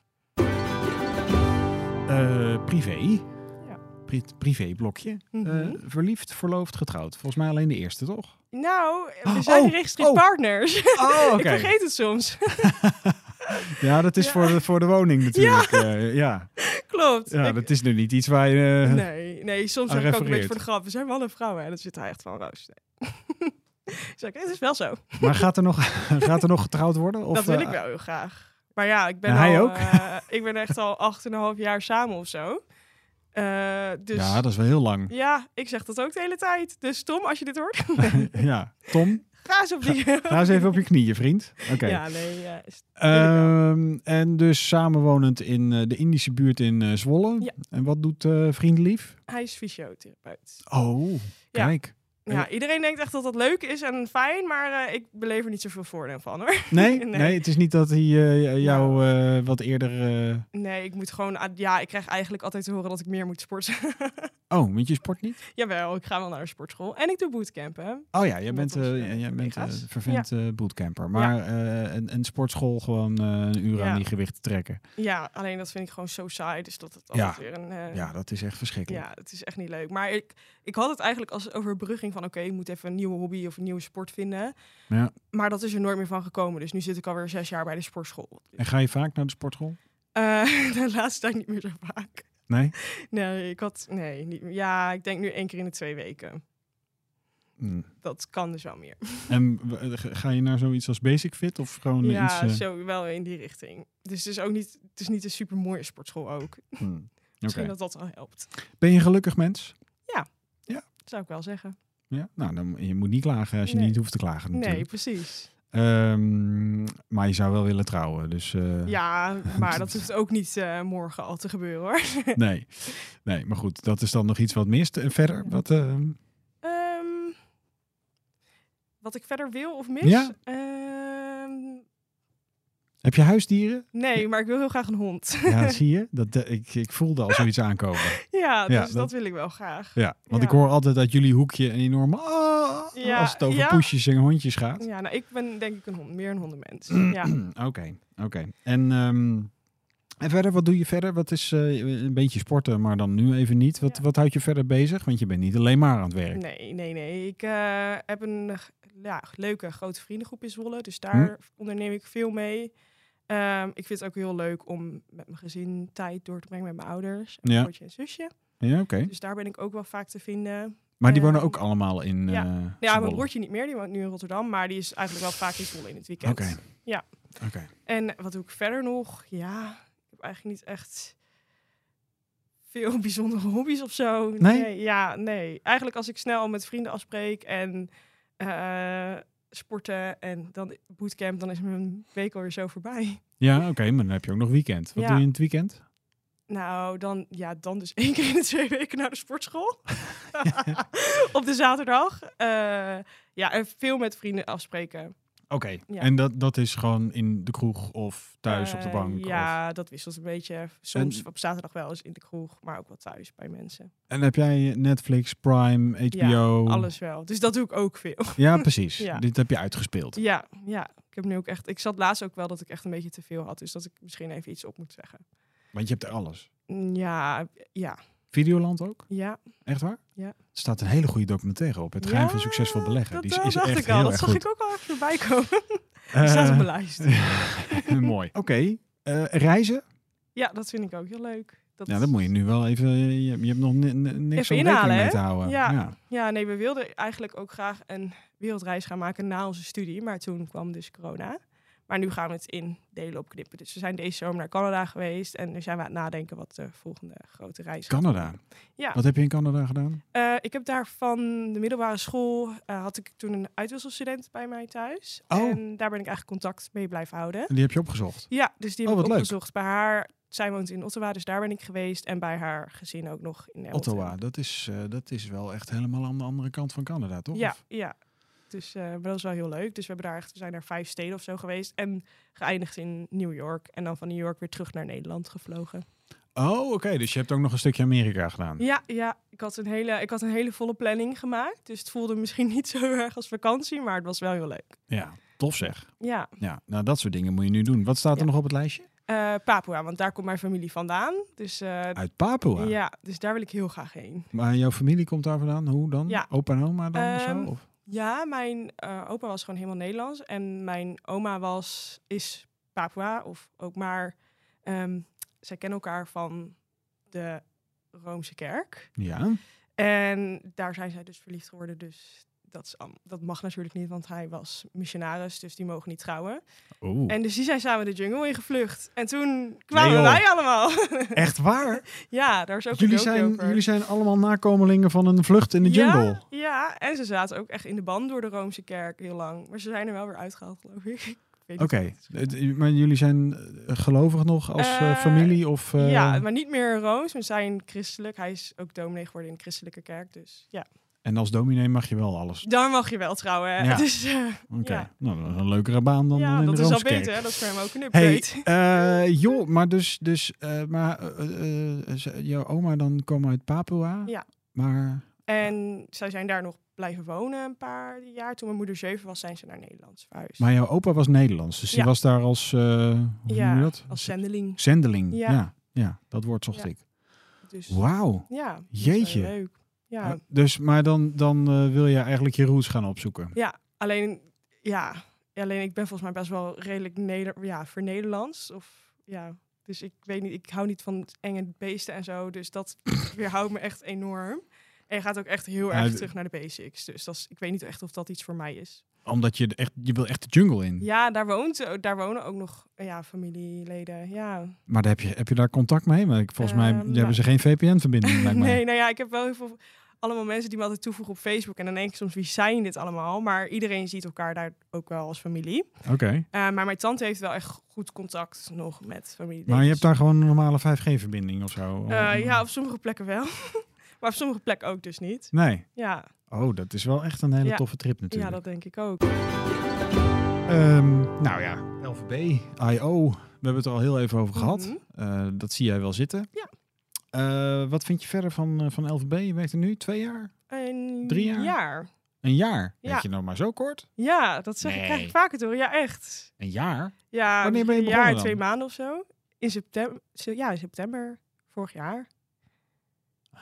Speaker 1: Eh, privé.
Speaker 2: Ja.
Speaker 1: Pri- privéblokje. Eh,
Speaker 2: Mhm.
Speaker 1: verliefd, verloofd, getrouwd. Volgens mij alleen de eerste, toch?
Speaker 2: nou,
Speaker 1: Oh,
Speaker 2: we zijn
Speaker 1: oh,
Speaker 2: geregistreerd
Speaker 1: oh.
Speaker 2: partners. (laughs)
Speaker 1: Oh, (laughs) oké.
Speaker 2: ik vergeet het soms. (laughs)
Speaker 1: Ja, dat is
Speaker 2: Ja.
Speaker 1: Voor, de, voor de woning natuurlijk. Ja, (laughs) ja.
Speaker 2: Klopt.
Speaker 1: ja
Speaker 2: Ik-
Speaker 1: dat is nu niet iets waar je... eh,
Speaker 2: nee, nee, soms
Speaker 1: Hij
Speaker 2: zeg ik ook een beetje
Speaker 1: refereert.
Speaker 2: voor de grap. We zijn mannen en vrouwen. En dan zit hij echt van roos. Nee. (laughs) Dus ik, het is wel zo.
Speaker 1: Maar gaat er, nog, (laughs) gaat er nog getrouwd worden? Of,
Speaker 2: dat wil
Speaker 1: eh,
Speaker 2: ik wel heel graag. Maar ja, ik ben,
Speaker 1: Nou, hij
Speaker 2: al,
Speaker 1: ook.
Speaker 2: eh, ik ben echt al acht en een half jaar samen of zo. Eh, dus
Speaker 1: Ja, dat is wel heel lang.
Speaker 2: Ja, ik zeg dat ook de hele tijd. Dus Tom, als je dit
Speaker 1: (laughs)
Speaker 2: hoort,
Speaker 1: ja. Tom,
Speaker 2: ga eens op die...
Speaker 1: ga eens even op je knieën, vriend. Oké.
Speaker 2: Ja, nee. ja, is-
Speaker 1: Ehm, en dus samenwonend in eh, de Indische buurt in eh, Zwolle.
Speaker 2: Ja.
Speaker 1: En wat doet eh vriend Lief?
Speaker 2: hij is fysiotherapeut.
Speaker 1: Oh,
Speaker 2: Ja.
Speaker 1: kijk.
Speaker 2: Ja, iedereen denkt echt dat dat leuk is en fijn, maar eh, ik beleef er niet zoveel voordeel van hoor. (laughs)
Speaker 1: Nee, (laughs) nee.
Speaker 2: Nee.
Speaker 1: het is niet dat hij eh, jou eh, wat eerder... eh,
Speaker 2: Nee, ik moet gewoon... aan- Ja, ik krijg eigenlijk altijd te horen dat ik meer moet sporten. (laughs)
Speaker 1: Oh, want je sport niet?
Speaker 2: Jawel, ik ga wel naar de sportschool. En ik doe bootcampen.
Speaker 1: Oh ja, jij
Speaker 2: Met
Speaker 1: bent, eh,
Speaker 2: onze
Speaker 1: jij bent eh,
Speaker 2: collega's.
Speaker 1: vervent eh bootcamper. Maar eh, een, een sportschool gewoon eh, een uur aan
Speaker 2: Ja.
Speaker 1: die gewichten trekken.
Speaker 2: Ja, alleen dat vind ik gewoon zo saai. Dus dat het
Speaker 1: Ja.
Speaker 2: altijd weer een... eh,
Speaker 1: Ja, dat is echt verschrikkelijk.
Speaker 2: Ja, het is echt niet leuk. Maar ik, ik had het eigenlijk als overbrugging van... oké, ik moet even een nieuwe hobby of een nieuwe sport vinden.
Speaker 1: Ja.
Speaker 2: Maar dat is er nooit meer van gekomen. Dus nu zit ik alweer zes jaar bij de sportschool.
Speaker 1: En ga je vaak naar de sportschool?
Speaker 2: Eh, (laughs) de laatste tijd niet meer zo vaak.
Speaker 1: Nee?
Speaker 2: Nee, ik had... Nee, niet, ja, ik denk nu één keer in de twee weken.
Speaker 1: Hm.
Speaker 2: Dat kan dus wel meer.
Speaker 1: En w- eh, ga ga je naar zoiets als Basic Fit of gewoon eh, iets...
Speaker 2: ja,
Speaker 1: eh,
Speaker 2: (laughs) zo wel in die richting. Dus het is ook niet, het is niet een super mooie sportschool ook.
Speaker 1: hm. Oké.
Speaker 2: Misschien dat dat al helpt.
Speaker 1: Ben je een gelukkig mens?
Speaker 2: Zou ik wel zeggen.
Speaker 1: Ja? Nou, dan, je moet niet klagen als je
Speaker 2: Nee.
Speaker 1: niet hoeft te klagen
Speaker 2: Nee,
Speaker 1: natuurlijk.
Speaker 2: precies.
Speaker 1: Ehm, maar je zou wel willen trouwen, dus... eh,
Speaker 2: Ja, maar dat hoeft ook niet eh, morgen al te gebeuren hoor.
Speaker 1: (laughs) Nee. nee, maar goed, dat is dan nog iets wat mist. En verder, wat... eh,
Speaker 2: Ehm, wat ik verder wil of mis?
Speaker 1: Ja.
Speaker 2: Ehm,
Speaker 1: heb je huisdieren?
Speaker 2: nee, maar ik wil heel graag een hond.
Speaker 1: Ja, dat zie je. Dat, eh, ik, ik voelde al zoiets aankomen.
Speaker 2: (laughs) ja, dus dat...
Speaker 1: dat-
Speaker 2: wil ik wel graag.
Speaker 1: Ja, want
Speaker 2: Ja.
Speaker 1: ik hoor altijd uit jullie hoekje een enorme... "Ah",
Speaker 2: Ja,
Speaker 1: als het over
Speaker 2: ja.
Speaker 1: poesjes en hondjes gaat.
Speaker 2: Ja, nou, ik ben denk ik een hond, meer een
Speaker 1: (clears throat)
Speaker 2: hondenmens. ja.
Speaker 1: Oké, oké. En, ehm, en verder, wat doe je verder? Wat is eh, een beetje sporten, maar dan nu even niet. Wat,
Speaker 2: Ja.
Speaker 1: wat houdt je verder bezig? Want je bent niet alleen maar aan het werk.
Speaker 2: Nee, nee, nee. Ik eh, heb een eh, ja, leuke grote vriendengroep in Zwolle. Dus
Speaker 1: Hm.
Speaker 2: daar onderneem ik veel mee. Ehm, ik vind het ook heel leuk om met mijn gezin tijd door te brengen met mijn ouders.
Speaker 1: Ja.
Speaker 2: En mijn broertje en zusje.
Speaker 1: Ja, oké.
Speaker 2: Dus daar ben ik ook wel vaak te vinden.
Speaker 1: Maar die
Speaker 2: Ehm,
Speaker 1: wonen ook allemaal in
Speaker 2: ja.
Speaker 1: eh,
Speaker 2: Ja,
Speaker 1: Zwolle?
Speaker 2: mijn broertje niet meer. Die woont nu in Rotterdam. Maar die is eigenlijk wel vaak in Zwolle in het
Speaker 1: Oké.
Speaker 2: weekend. Ja.
Speaker 1: Oké.
Speaker 2: En wat doe ik verder nog? Ja, ik heb eigenlijk niet echt veel (laughs) bijzondere hobby's of zo.
Speaker 1: Nee?
Speaker 2: ja, nee. Eigenlijk als ik snel al met vrienden afspreek en eh, sporten en dan bootcamp, dan is mijn week alweer zo voorbij.
Speaker 1: Ja, oké, maar dan heb je ook nog weekend. Wat
Speaker 2: Ja.
Speaker 1: doe je in het weekend?
Speaker 2: Nou, dan, ja, dan dus (laughs) één keer in de twee weken naar de sportschool. (laughs) Op de zaterdag. Eh, ja, en veel met vrienden afspreken.
Speaker 1: Oké.
Speaker 2: Ja.
Speaker 1: En dat, dat is gewoon in de kroeg of thuis op de
Speaker 2: Eh,
Speaker 1: bank? Of...
Speaker 2: Ja, dat wisselt een beetje. Soms
Speaker 1: En-
Speaker 2: op zaterdag wel eens in de kroeg, maar ook wel thuis bij mensen.
Speaker 1: En heb jij Netflix, Prime, HBO?
Speaker 2: Alles wel. Dus dat doe ik ook veel. (laughs)
Speaker 1: Ja, precies.
Speaker 2: Ja.
Speaker 1: Dit heb je uitgespeeld.
Speaker 2: Ja, ja. Ik heb nu ook echt. Ik zat laatst ook wel dat ik echt een beetje te veel had. Dus dat ik misschien even iets op moet zeggen.
Speaker 1: Want je hebt alles.
Speaker 2: Mm, Ja, ja,
Speaker 1: Videoland ook?
Speaker 2: ja.
Speaker 1: Echt waar?
Speaker 2: Ja.
Speaker 1: Er staat een hele goede documentaire op. Het geheim
Speaker 2: Ja,
Speaker 1: van succesvol beleggen.
Speaker 2: Dat
Speaker 1: Die
Speaker 2: eh,
Speaker 1: is
Speaker 2: dacht
Speaker 1: echt
Speaker 2: ik al.
Speaker 1: heel
Speaker 2: Dat
Speaker 1: erg
Speaker 2: zag
Speaker 1: goed.
Speaker 2: ik ook al even voorbij
Speaker 1: (laughs)
Speaker 2: komen.
Speaker 1: Eh,
Speaker 2: Staat op
Speaker 1: (laughs)
Speaker 2: mijn lijst.
Speaker 1: mooi. Oké. eh, reizen?
Speaker 2: Ja, dat vind ik ook heel leuk. Dat
Speaker 1: Nou, dat moet je nu wel even... eh, Je, je hebt nog ni- ni- niks
Speaker 2: Even
Speaker 1: om rekening
Speaker 2: inhalen,
Speaker 1: mee
Speaker 2: hè?
Speaker 1: te houden.
Speaker 2: Ja. Ja, nee, we wilden eigenlijk ook graag een wereldreis gaan maken na onze studie. Maar toen kwam dus corona. Maar nu gaan we het in delen opknippen. Dus we zijn deze zomer naar Canada geweest. En nu zijn we aan het nadenken wat de volgende grote reis gaat
Speaker 1: Canada.
Speaker 2: Ja.
Speaker 1: Wat heb je in Canada gedaan?
Speaker 2: Eh, ik heb daar van de middelbare school, eh, had ik toen een uitwisselstudent bij mij thuis.
Speaker 1: Oh.
Speaker 2: En daar ben ik eigenlijk contact mee blijven houden.
Speaker 1: En die heb je opgezocht.
Speaker 2: Ja, dus die
Speaker 1: Oh,
Speaker 2: heb ik
Speaker 1: wat leuk.
Speaker 2: opgezocht bij haar. Zij woont in Ottawa, dus daar ben ik geweest. En bij haar gezin ook nog in Hamilton.
Speaker 1: Ottawa, dat is, eh, dat is wel echt helemaal aan de andere kant van Canada, toch?
Speaker 2: Ja,
Speaker 1: Of-
Speaker 2: ja. Dus eh, maar dat is wel heel leuk. Dus we, hebben daar echt, we zijn naar vijf steden of zo geweest. En geëindigd in New York. En dan van New York weer terug naar Nederland gevlogen.
Speaker 1: Oh, oké. Dus je hebt ook nog een stukje Amerika gedaan.
Speaker 2: Ja, ja ik, had een hele, ik had een hele volle planning gemaakt. Dus het voelde misschien (laughs) niet zo erg als vakantie. Maar het was wel heel leuk.
Speaker 1: Ja, tof zeg.
Speaker 2: Ja.
Speaker 1: Ja, nou dat soort dingen moet je nu doen. Wat staat er
Speaker 2: Ja.
Speaker 1: nog op het lijstje?
Speaker 2: Eh, Papua, want daar komt mijn familie vandaan. Dus, eh,
Speaker 1: Uit Papua.
Speaker 2: ja, dus daar wil ik heel graag heen.
Speaker 1: Maar jouw familie komt daar vandaan? Hoe dan?
Speaker 2: Ja.
Speaker 1: Opa en oma dan? of zo?
Speaker 2: Ehm,
Speaker 1: Of?
Speaker 2: Ja, mijn eh, opa was gewoon helemaal Nederlands. En mijn oma was, is Papua of ook maar. ehm, zij kennen elkaar van de Roomse kerk.
Speaker 1: Ja.
Speaker 2: En daar zijn zij dus verliefd geworden. Dus dat, is, am- dat mag natuurlijk niet, want hij was missionaris. Dus die mogen niet trouwen.
Speaker 1: Oeh.
Speaker 2: En dus die zijn samen de jungle ingevlucht. En toen kwamen
Speaker 1: joh.
Speaker 2: wij allemaal.
Speaker 1: Echt waar?
Speaker 2: (laughs) ja, daar is ook
Speaker 1: jullie,
Speaker 2: een docu
Speaker 1: zijn,
Speaker 2: over.
Speaker 1: jullie zijn allemaal nakomelingen van een vlucht in de jungle.
Speaker 2: Ja, ja, en ze zaten ook echt in de band door de Roomse kerk heel lang. Maar ze zijn er wel weer uitgehaald, geloof ik. (laughs) Ik weet
Speaker 1: Oké, eh, dus,
Speaker 2: niet of dat is-
Speaker 1: het- maar jullie zijn eh, gelovig nog als eh,
Speaker 2: Eh,
Speaker 1: familie? Of, eh,
Speaker 2: Ja, maar niet meer Rooms. We zijn christelijk. Hij is ook dominee geworden in de christelijke kerk. Dus ja,
Speaker 1: En als dominee mag je wel alles.
Speaker 2: daar mag je wel trouwen. hè.
Speaker 1: Ja.
Speaker 2: (laughs) Dus, eh,
Speaker 1: Oké,
Speaker 2: Ja.
Speaker 1: nou, dat is een leukere baan dan, dan
Speaker 2: ja,
Speaker 1: in
Speaker 2: dat
Speaker 1: de
Speaker 2: is al
Speaker 1: Roomskerk.
Speaker 2: beter. hè. Dat is voor hem ook een
Speaker 1: Hey,
Speaker 2: upgrade.
Speaker 1: eh, joh, maar dus, dus eh, maar, eh, eh, eh, ze- jouw oma dan kwam uit Papua?
Speaker 2: Ja.
Speaker 1: Maar
Speaker 2: En zij zijn daar nog blijven wonen een paar jaar. Toen mijn moeder zeven was, zijn ze naar Nederland verhuisd.
Speaker 1: Maar jouw opa was Nederlands, dus die
Speaker 2: Ja.
Speaker 1: was daar als, eh, hoe
Speaker 2: Ja,
Speaker 1: noem je dat?
Speaker 2: als zendeling.
Speaker 1: Zendeling, ja.
Speaker 2: Ja.
Speaker 1: ja. dat woord zocht
Speaker 2: Ja.
Speaker 1: ik.
Speaker 2: Dus
Speaker 1: Wauw,
Speaker 2: ja, dat is wel
Speaker 1: jeetje.
Speaker 2: leuk. Ja,
Speaker 1: Maar- Dus, maar dan, dan eh, wil je eigenlijk je roots gaan opzoeken.
Speaker 2: alleen ja, alleen ik ben volgens mij best wel redelijk Neder ja, voor Nederlands of ja, dus ik weet niet, ik hou niet van enge beesten en zo,
Speaker 1: (coughs)
Speaker 2: dus dat weerhoudt me echt enorm. En je gaat ook echt heel
Speaker 1: Ja,
Speaker 2: erg
Speaker 1: d-
Speaker 2: terug naar de basics. Dus dat is, ik weet niet echt of dat iets voor mij is.
Speaker 1: Omdat je de- echt, je wil echt de jungle in.
Speaker 2: Ja, daar, woont, eh, daar wonen ook nog ja, familieleden. Ja,
Speaker 1: Maar daar heb, je, heb je daar contact mee? Maar ik, volgens mij
Speaker 2: Ehm, nou-
Speaker 1: hebben ze geen VPN-verbinding, lijkt mij.
Speaker 2: (laughs) Nee, nou ja, ik heb wel heel veel... Allemaal mensen die me altijd toevoegen op Facebook. En dan denk ik soms, wie zijn dit allemaal? Maar iedereen ziet elkaar daar ook wel als familie.
Speaker 1: Oké,
Speaker 2: Eh, maar mijn tante heeft wel echt goed contact nog met familie.
Speaker 1: maar je hebt Oh, daar gewoon een normale 5G-verbinding of zo?
Speaker 2: Eh, ja, op sommige plekken wel. (laughs) maar op sommige plekken ook dus niet.
Speaker 1: Nee.
Speaker 2: Ja,
Speaker 1: Oh, dat is wel echt een hele
Speaker 2: Ja.
Speaker 1: toffe trip
Speaker 2: ja
Speaker 1: natuurlijk.
Speaker 2: dat denk ik ook.
Speaker 1: Ehm, nou ja, LVB, I.O. We hebben het er al heel even over gehad.
Speaker 2: Mhm.
Speaker 1: Eh, dat zie jij wel zitten.
Speaker 2: Ja.
Speaker 1: Eh, wat vind je verder van, eh, van LVB? Je werkt er nu twee jaar?
Speaker 2: Een
Speaker 1: Drie jaar? Een jaar?
Speaker 2: Ja.
Speaker 1: Weet je nou maar zo kort?
Speaker 2: Ja, dat zeg ik, krijg
Speaker 1: Nee.
Speaker 2: ik vaker door. Ja, echt.
Speaker 1: Een jaar?
Speaker 2: Ja,
Speaker 1: Wanneer ben je
Speaker 2: een
Speaker 1: begonnen
Speaker 2: jaar,
Speaker 1: dan?
Speaker 2: twee maanden of zo. In september, ja, in september vorig jaar.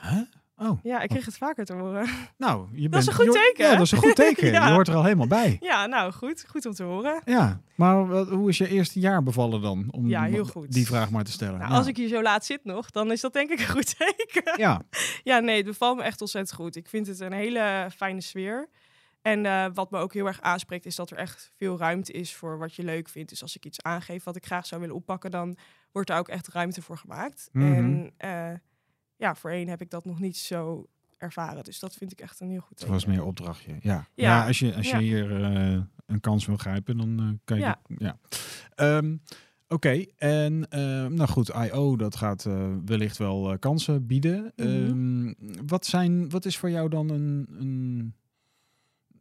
Speaker 1: Huh? Oh,
Speaker 2: Ja, ik kreeg het vaker te horen. (laughs)
Speaker 1: nou, je bent...
Speaker 2: is een goed
Speaker 1: je hoort-
Speaker 2: teken,
Speaker 1: Ja,
Speaker 2: hè?
Speaker 1: dat is een goed
Speaker 2: (laughs)
Speaker 1: teken.
Speaker 2: Ja.
Speaker 1: Je hoort er al helemaal bij.
Speaker 2: Ja, nou goed. Goed om te horen.
Speaker 1: Ja, maar wat- hoe is je eerste jaar bevallen dan? Om
Speaker 2: Ja, heel goed.
Speaker 1: die vraag maar te stellen.
Speaker 2: Nou,
Speaker 1: Ja.
Speaker 2: als ik hier zo laat zit nog, dan is dat denk ik een goed teken.
Speaker 1: Ja,
Speaker 2: Ja, nee, het bevalt me echt ontzettend goed. Ik vind het een hele fijne sfeer. En eh, wat me ook heel erg aanspreekt, is dat er echt veel ruimte is voor wat je leuk vindt. Dus als ik iets aangeef wat ik graag zou willen oppakken, dan wordt daar ook echt ruimte voor gemaakt.
Speaker 1: Mhm.
Speaker 2: En eh, ja, voorheen heb ik dat nog niet zo ervaren. Dus dat vind ik echt een heel goed
Speaker 1: het
Speaker 2: teken.
Speaker 1: was meer opdrachtje. Ja, ja.
Speaker 2: Ja.
Speaker 1: als je, als je
Speaker 2: Ja.
Speaker 1: hier eh, een kans wil grijpen, dan eh, kan je...
Speaker 2: Ja.
Speaker 1: die- ja. Ehm, Oké, en ehm, nou goed, I.O. dat gaat eh, wellicht wel eh, kansen bieden.
Speaker 2: Mhm.
Speaker 1: Ehm, wat, zijn, wat is voor jou dan een, een,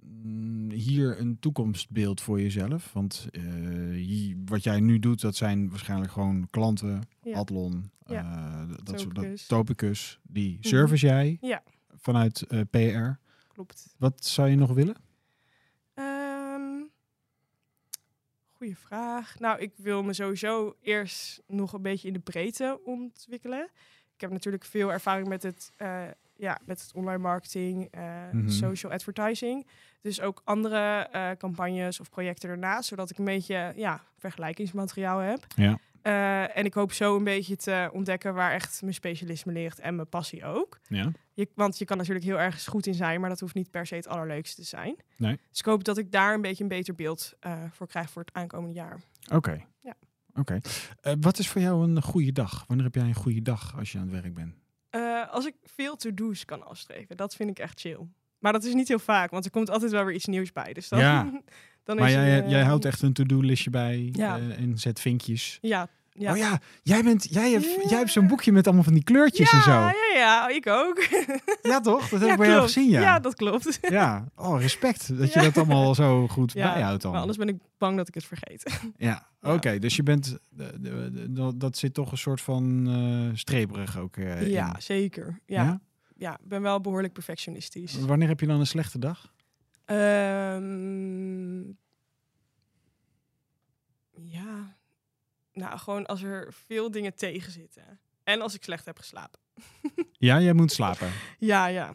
Speaker 1: mm, hier een toekomstbeeld voor jezelf? Want eh, je- wat jij nu doet, dat zijn waarschijnlijk gewoon klanten,
Speaker 2: Ja.
Speaker 1: Adlon,
Speaker 2: Ja.
Speaker 1: eh, dat- dat soort dat,
Speaker 2: Topicus. Mhm.
Speaker 1: Topicus, die service jij
Speaker 2: Ja.
Speaker 1: vanuit eh, PR.
Speaker 2: Klopt.
Speaker 1: Wat zou je nog willen?
Speaker 2: Ehm goeie vraag. Nou, ik wil me sowieso eerst nog een beetje in de breedte ontwikkelen. Ik heb natuurlijk veel ervaring met het, eh, ja, met het online marketing, eh,
Speaker 1: Mhm.
Speaker 2: social advertising. Dus ook andere eh, campagnes of projecten ernaast, zodat ik een beetje ja, vergelijkingsmateriaal heb.
Speaker 1: Ja.
Speaker 2: Eh, en ik hoop zo een beetje te ontdekken waar echt mijn specialisme ligt en mijn passie ook.
Speaker 1: Ja.
Speaker 2: Je, want je kan natuurlijk heel ergens goed in zijn, maar dat hoeft niet per se het allerleukste te zijn.
Speaker 1: Nee.
Speaker 2: Dus ik hoop dat ik daar een beetje een beter beeld eh, voor krijg voor het aankomende jaar.
Speaker 1: Oké.
Speaker 2: Ja.
Speaker 1: Oké. Eh, wat is voor jou een goede dag? Wanneer heb jij een goede dag als je aan het werk bent?
Speaker 2: Eh, als ik veel to-do's kan afstreven, dat vind ik echt chill. Maar dat is niet heel vaak, want er komt altijd wel weer iets nieuws bij. Dus dan,
Speaker 1: Ja.
Speaker 2: (laughs) dan
Speaker 1: Maar
Speaker 2: is
Speaker 1: jij,
Speaker 2: het, eh,
Speaker 1: jij houdt echt een to-do-listje bij
Speaker 2: Ja.
Speaker 1: eh, en zet vinkjes.
Speaker 2: Ja. Ja.
Speaker 1: Oh ja, jij, bent, jij hebt,
Speaker 2: Ja.
Speaker 1: jij hebt zo'n boekje met allemaal van die kleurtjes
Speaker 2: ja,
Speaker 1: en zo.
Speaker 2: ja, ja, ik ook. (laughs)
Speaker 1: Ja toch? Dat heb
Speaker 2: ja,
Speaker 1: ik bij jou
Speaker 2: klopt.
Speaker 1: gezien, ja. Ja,
Speaker 2: dat klopt.
Speaker 1: oh respect dat je
Speaker 2: Ja.
Speaker 1: dat allemaal zo goed
Speaker 2: Ja,
Speaker 1: bijhoudt (laughs) dan.
Speaker 2: Maar anders ben ik bang dat ik het vergeet.
Speaker 1: Ja, oké.
Speaker 2: Ja.
Speaker 1: dus je bent. de- de- de- dat- dat zit toch een soort van eh, streberig ook. eh,
Speaker 2: ja,
Speaker 1: in.
Speaker 2: zeker. Ja, ja? ik ben wel behoorlijk perfectionistisch.
Speaker 1: Wanneer heb je dan een slechte dag?
Speaker 2: Ehm, ja. Nou, gewoon als er veel dingen tegen zitten. En als ik slecht heb geslapen.
Speaker 1: Ja, jij moet slapen.
Speaker 2: Ja, ja.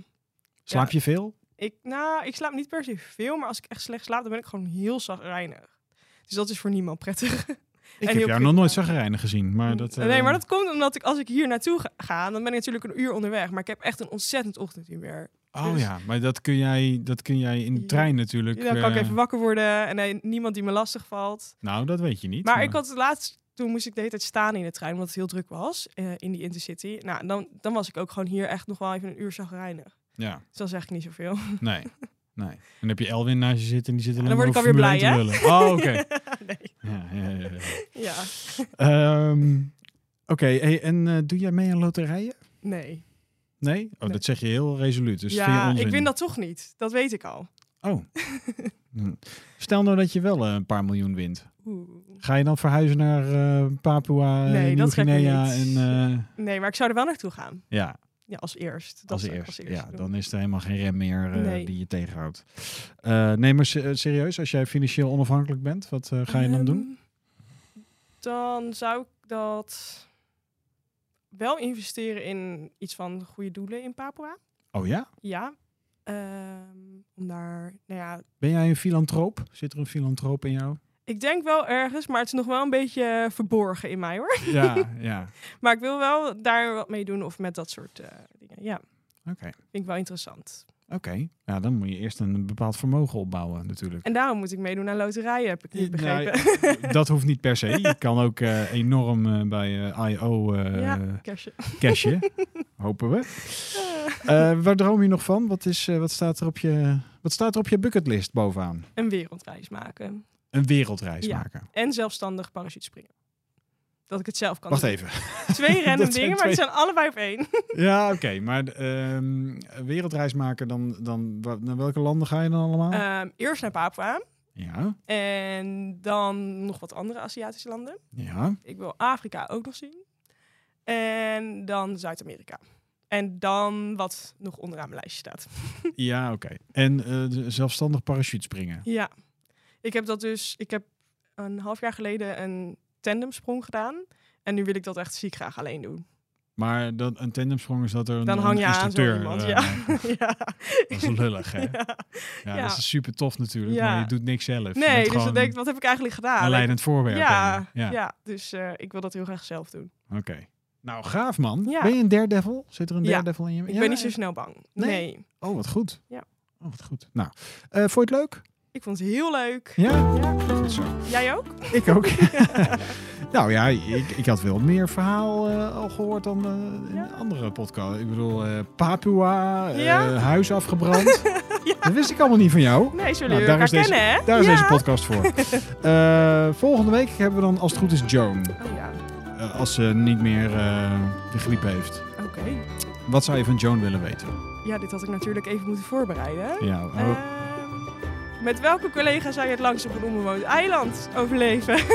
Speaker 1: Slaap je veel?
Speaker 2: Ik, nou, ik slaap niet per se veel, maar als ik echt slecht slaap, dan ben ik gewoon heel zagrijnig. Dus dat is voor niemand prettig.
Speaker 1: Ik
Speaker 2: heel
Speaker 1: heb jou nog
Speaker 2: prima.
Speaker 1: nooit zagrijnig gezien, maar dat. eh,
Speaker 2: (laughs) nee, maar dat komt omdat ik als ik hier naartoe ga- ga, dan ben ik natuurlijk een uur onderweg. Maar ik heb echt een ontzettend ochtendhumeur.
Speaker 1: Oh
Speaker 2: dus-
Speaker 1: ja, maar dat kun jij, dat kun jij in de
Speaker 2: Ja.
Speaker 1: trein natuurlijk.
Speaker 2: Dan kan ik
Speaker 1: eh,
Speaker 2: even wakker worden en eh, niemand die me lastig valt.
Speaker 1: Nou, dat weet je niet.
Speaker 2: Maar ik had het laatst, toen moest ik de hele tijd staan in de trein, omdat het heel druk was eh, in die intercity. Nou, dan, dan was ik ook gewoon hier echt nog wel even een uur chagrijnig.
Speaker 1: Ja,
Speaker 2: Dus dan zeg ik niet zoveel. (laughs)
Speaker 1: nee. Nee. En dan heb je Elwin naast je zitten en die zit alleen
Speaker 2: dan word
Speaker 1: maar
Speaker 2: ik
Speaker 1: over
Speaker 2: alweer
Speaker 1: Formule 1 te lullen. Oh, oké.
Speaker 2: (laughs) nee.
Speaker 1: Ja, ja, ja, ja.
Speaker 2: Ja,
Speaker 1: Ehm, oké, hey, en eh, doe jij mee aan loterijen?
Speaker 2: nee.
Speaker 1: Nee? Oh,
Speaker 2: Nee.
Speaker 1: dat zeg je heel resoluut. Dus dat vind je
Speaker 2: ja,
Speaker 1: onzin.
Speaker 2: ik win dat toch niet. Dat weet ik al.
Speaker 1: Oh. Hm. Stel nou dat je wel eh, een paar miljoen wint.
Speaker 2: Oeh.
Speaker 1: Ga je dan verhuizen naar eh Papua,
Speaker 2: Nee,
Speaker 1: eh
Speaker 2: dat trek ik
Speaker 1: Nieuw-Guinea en...
Speaker 2: niet.
Speaker 1: eh,
Speaker 2: Nee, maar ik zou er wel naartoe gaan.
Speaker 1: ja,
Speaker 2: ja, als eerst. Dat
Speaker 1: als
Speaker 2: zou ik
Speaker 1: eerst.
Speaker 2: eerst
Speaker 1: ja,
Speaker 2: doen.
Speaker 1: dan is er helemaal geen rem meer eh,
Speaker 2: Nee.
Speaker 1: die je tegenhoudt. Eh, nee, maar se- eh, serieus, als jij financieel onafhankelijk bent, wat eh, ga je dan doen?
Speaker 2: Ehm, Dan zou ik dat wel investeren in iets van goede doelen in Papua.
Speaker 1: Oh ja?
Speaker 2: Ja. Ehm, om daar, nou ja,
Speaker 1: Ben jij een filantroop? Zit er een filantroop in
Speaker 2: (laughs)
Speaker 1: jou?
Speaker 2: ik denk wel ergens, maar het is nog wel een beetje eh, verborgen in mij hoor. (laughs)
Speaker 1: ja, ja.
Speaker 2: Maar ik wil wel daar wat mee doen of met dat soort eh, dingen. Ja,
Speaker 1: Oké.
Speaker 2: vind ik wel interessant.
Speaker 1: Oké. Ja, dan moet je eerst een bepaald vermogen opbouwen
Speaker 2: (laughs)
Speaker 1: natuurlijk.
Speaker 2: En daarom moet ik meedoen aan loterijen, heb ik niet
Speaker 1: Eh, nou, (laughs)
Speaker 2: begrepen.
Speaker 1: Dat hoeft niet per se. Je kan ook eh, enorm eh, bij eh, I.O. eh
Speaker 2: Ja. (laughs) Kerstje. (laughs)
Speaker 1: cashen. Hopen we. Eh, waar droom je nog van? Wat, is, eh, wat, staat er op je, wat staat er op je bucketlist bovenaan?
Speaker 2: Een wereldreis maken.
Speaker 1: Een wereldreis
Speaker 2: Ja.
Speaker 1: maken.
Speaker 2: En zelfstandig parachutespringen. Dat ik het zelf kan
Speaker 1: Wacht
Speaker 2: doen.
Speaker 1: even.
Speaker 2: Twee random
Speaker 1: (laughs) Dat zijn Oh.
Speaker 2: dingen, maar die zijn allebei op één.
Speaker 1: Ja, oké. Maar ehm, wereldreis maken, dan, dan, wa- naar welke landen ga je dan allemaal?
Speaker 2: Ehm, eerst naar Papua.
Speaker 1: ja,
Speaker 2: En dan nog wat andere Aziatische landen.
Speaker 1: ja.
Speaker 2: Ik wil Afrika ook nog zien. En dan Zuid-Amerika. En dan wat nog onderaan mijn lijstje staat. (laughs)
Speaker 1: Ja, oké. En eh, de- zelfstandig parachutespringen.
Speaker 2: Ja, ik heb dat dus. Ik heb een half jaar geleden een tandemsprong gedaan. En nu wil ik dat echt ziek graag alleen doen.
Speaker 1: Maar dat, een tandemsprong is dat er een,
Speaker 2: Dan hang
Speaker 1: een
Speaker 2: je aan zo
Speaker 1: instructeur.
Speaker 2: iemand.
Speaker 1: eh, (laughs)
Speaker 2: ja. ja.
Speaker 1: Dat is lullig, hè? Ja,
Speaker 2: (laughs) Ja. Ja.
Speaker 1: dat is super tof natuurlijk,
Speaker 2: Ja.
Speaker 1: maar je doet niks zelf. Je bent
Speaker 2: Nee, dus
Speaker 1: gewoon
Speaker 2: dan denk ik, wat heb ik eigenlijk gedaan?
Speaker 1: een leidend voorwerp.
Speaker 2: ja,
Speaker 1: eigenlijk.
Speaker 2: ja.
Speaker 1: ja.
Speaker 2: dus eh, ik wil dat heel graag zelf doen.
Speaker 1: Oké. Nou, gaaf man.
Speaker 2: Ja.
Speaker 1: Ben je een daredevil? Zit er een
Speaker 2: Ja.
Speaker 1: daredevil in je?
Speaker 2: Ik
Speaker 1: Ja,
Speaker 2: ben niet zo snel bang.
Speaker 1: Nee?
Speaker 2: Nee.
Speaker 1: Oh, wat goed.
Speaker 2: Ja.
Speaker 1: Oh, wat goed. Nou, eh, vond je het leuk?
Speaker 2: Ik vond het heel leuk.
Speaker 1: Ja?
Speaker 2: Ja.
Speaker 1: Goed zo.
Speaker 2: Jij ook?
Speaker 1: Ik ook. (laughs) nou ja, ik, ik had wel meer verhaal eh, al gehoord dan eh, in
Speaker 2: Ja.
Speaker 1: andere podcast. Ik bedoel, eh, Papua, eh,
Speaker 2: Ja.
Speaker 1: huis
Speaker 2: (laughs)
Speaker 1: afgebrand. Dat wist ik allemaal niet van jou.
Speaker 2: Nee, zullen
Speaker 1: Nou,
Speaker 2: jullie
Speaker 1: daar
Speaker 2: elkaar
Speaker 1: is deze-
Speaker 2: kennen, hè?
Speaker 1: Daar is
Speaker 2: ja.
Speaker 1: deze podcast
Speaker 2: (laughs)
Speaker 1: voor. Eh, volgende week hebben we dan, als het goed is, Joan.
Speaker 2: Oh ja,
Speaker 1: Eh, als ze niet meer eh, de griep heeft.
Speaker 2: oké.
Speaker 1: Wat zou je van Joan willen weten?
Speaker 2: Ja, dit had ik natuurlijk even moeten voorbereiden.
Speaker 1: Ja, oh,
Speaker 2: Eh. Ehm, met welke collega zou je het langst op een onbewoond eiland overleven? Of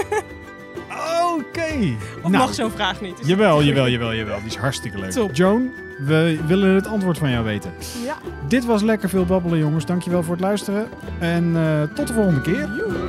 Speaker 1: oh, oké. Nou,
Speaker 2: mag zo'n vraag niet? Dus-
Speaker 1: Jawel, jawel, jawel, jawel. Die is hartstikke leuk.
Speaker 2: Top.
Speaker 1: Joan, we willen het antwoord van jou weten.
Speaker 2: Ja.
Speaker 1: Dit was lekker veel babbelen, jongens. Dankjewel voor het luisteren. En eh, tot de volgende keer.
Speaker 2: Joe.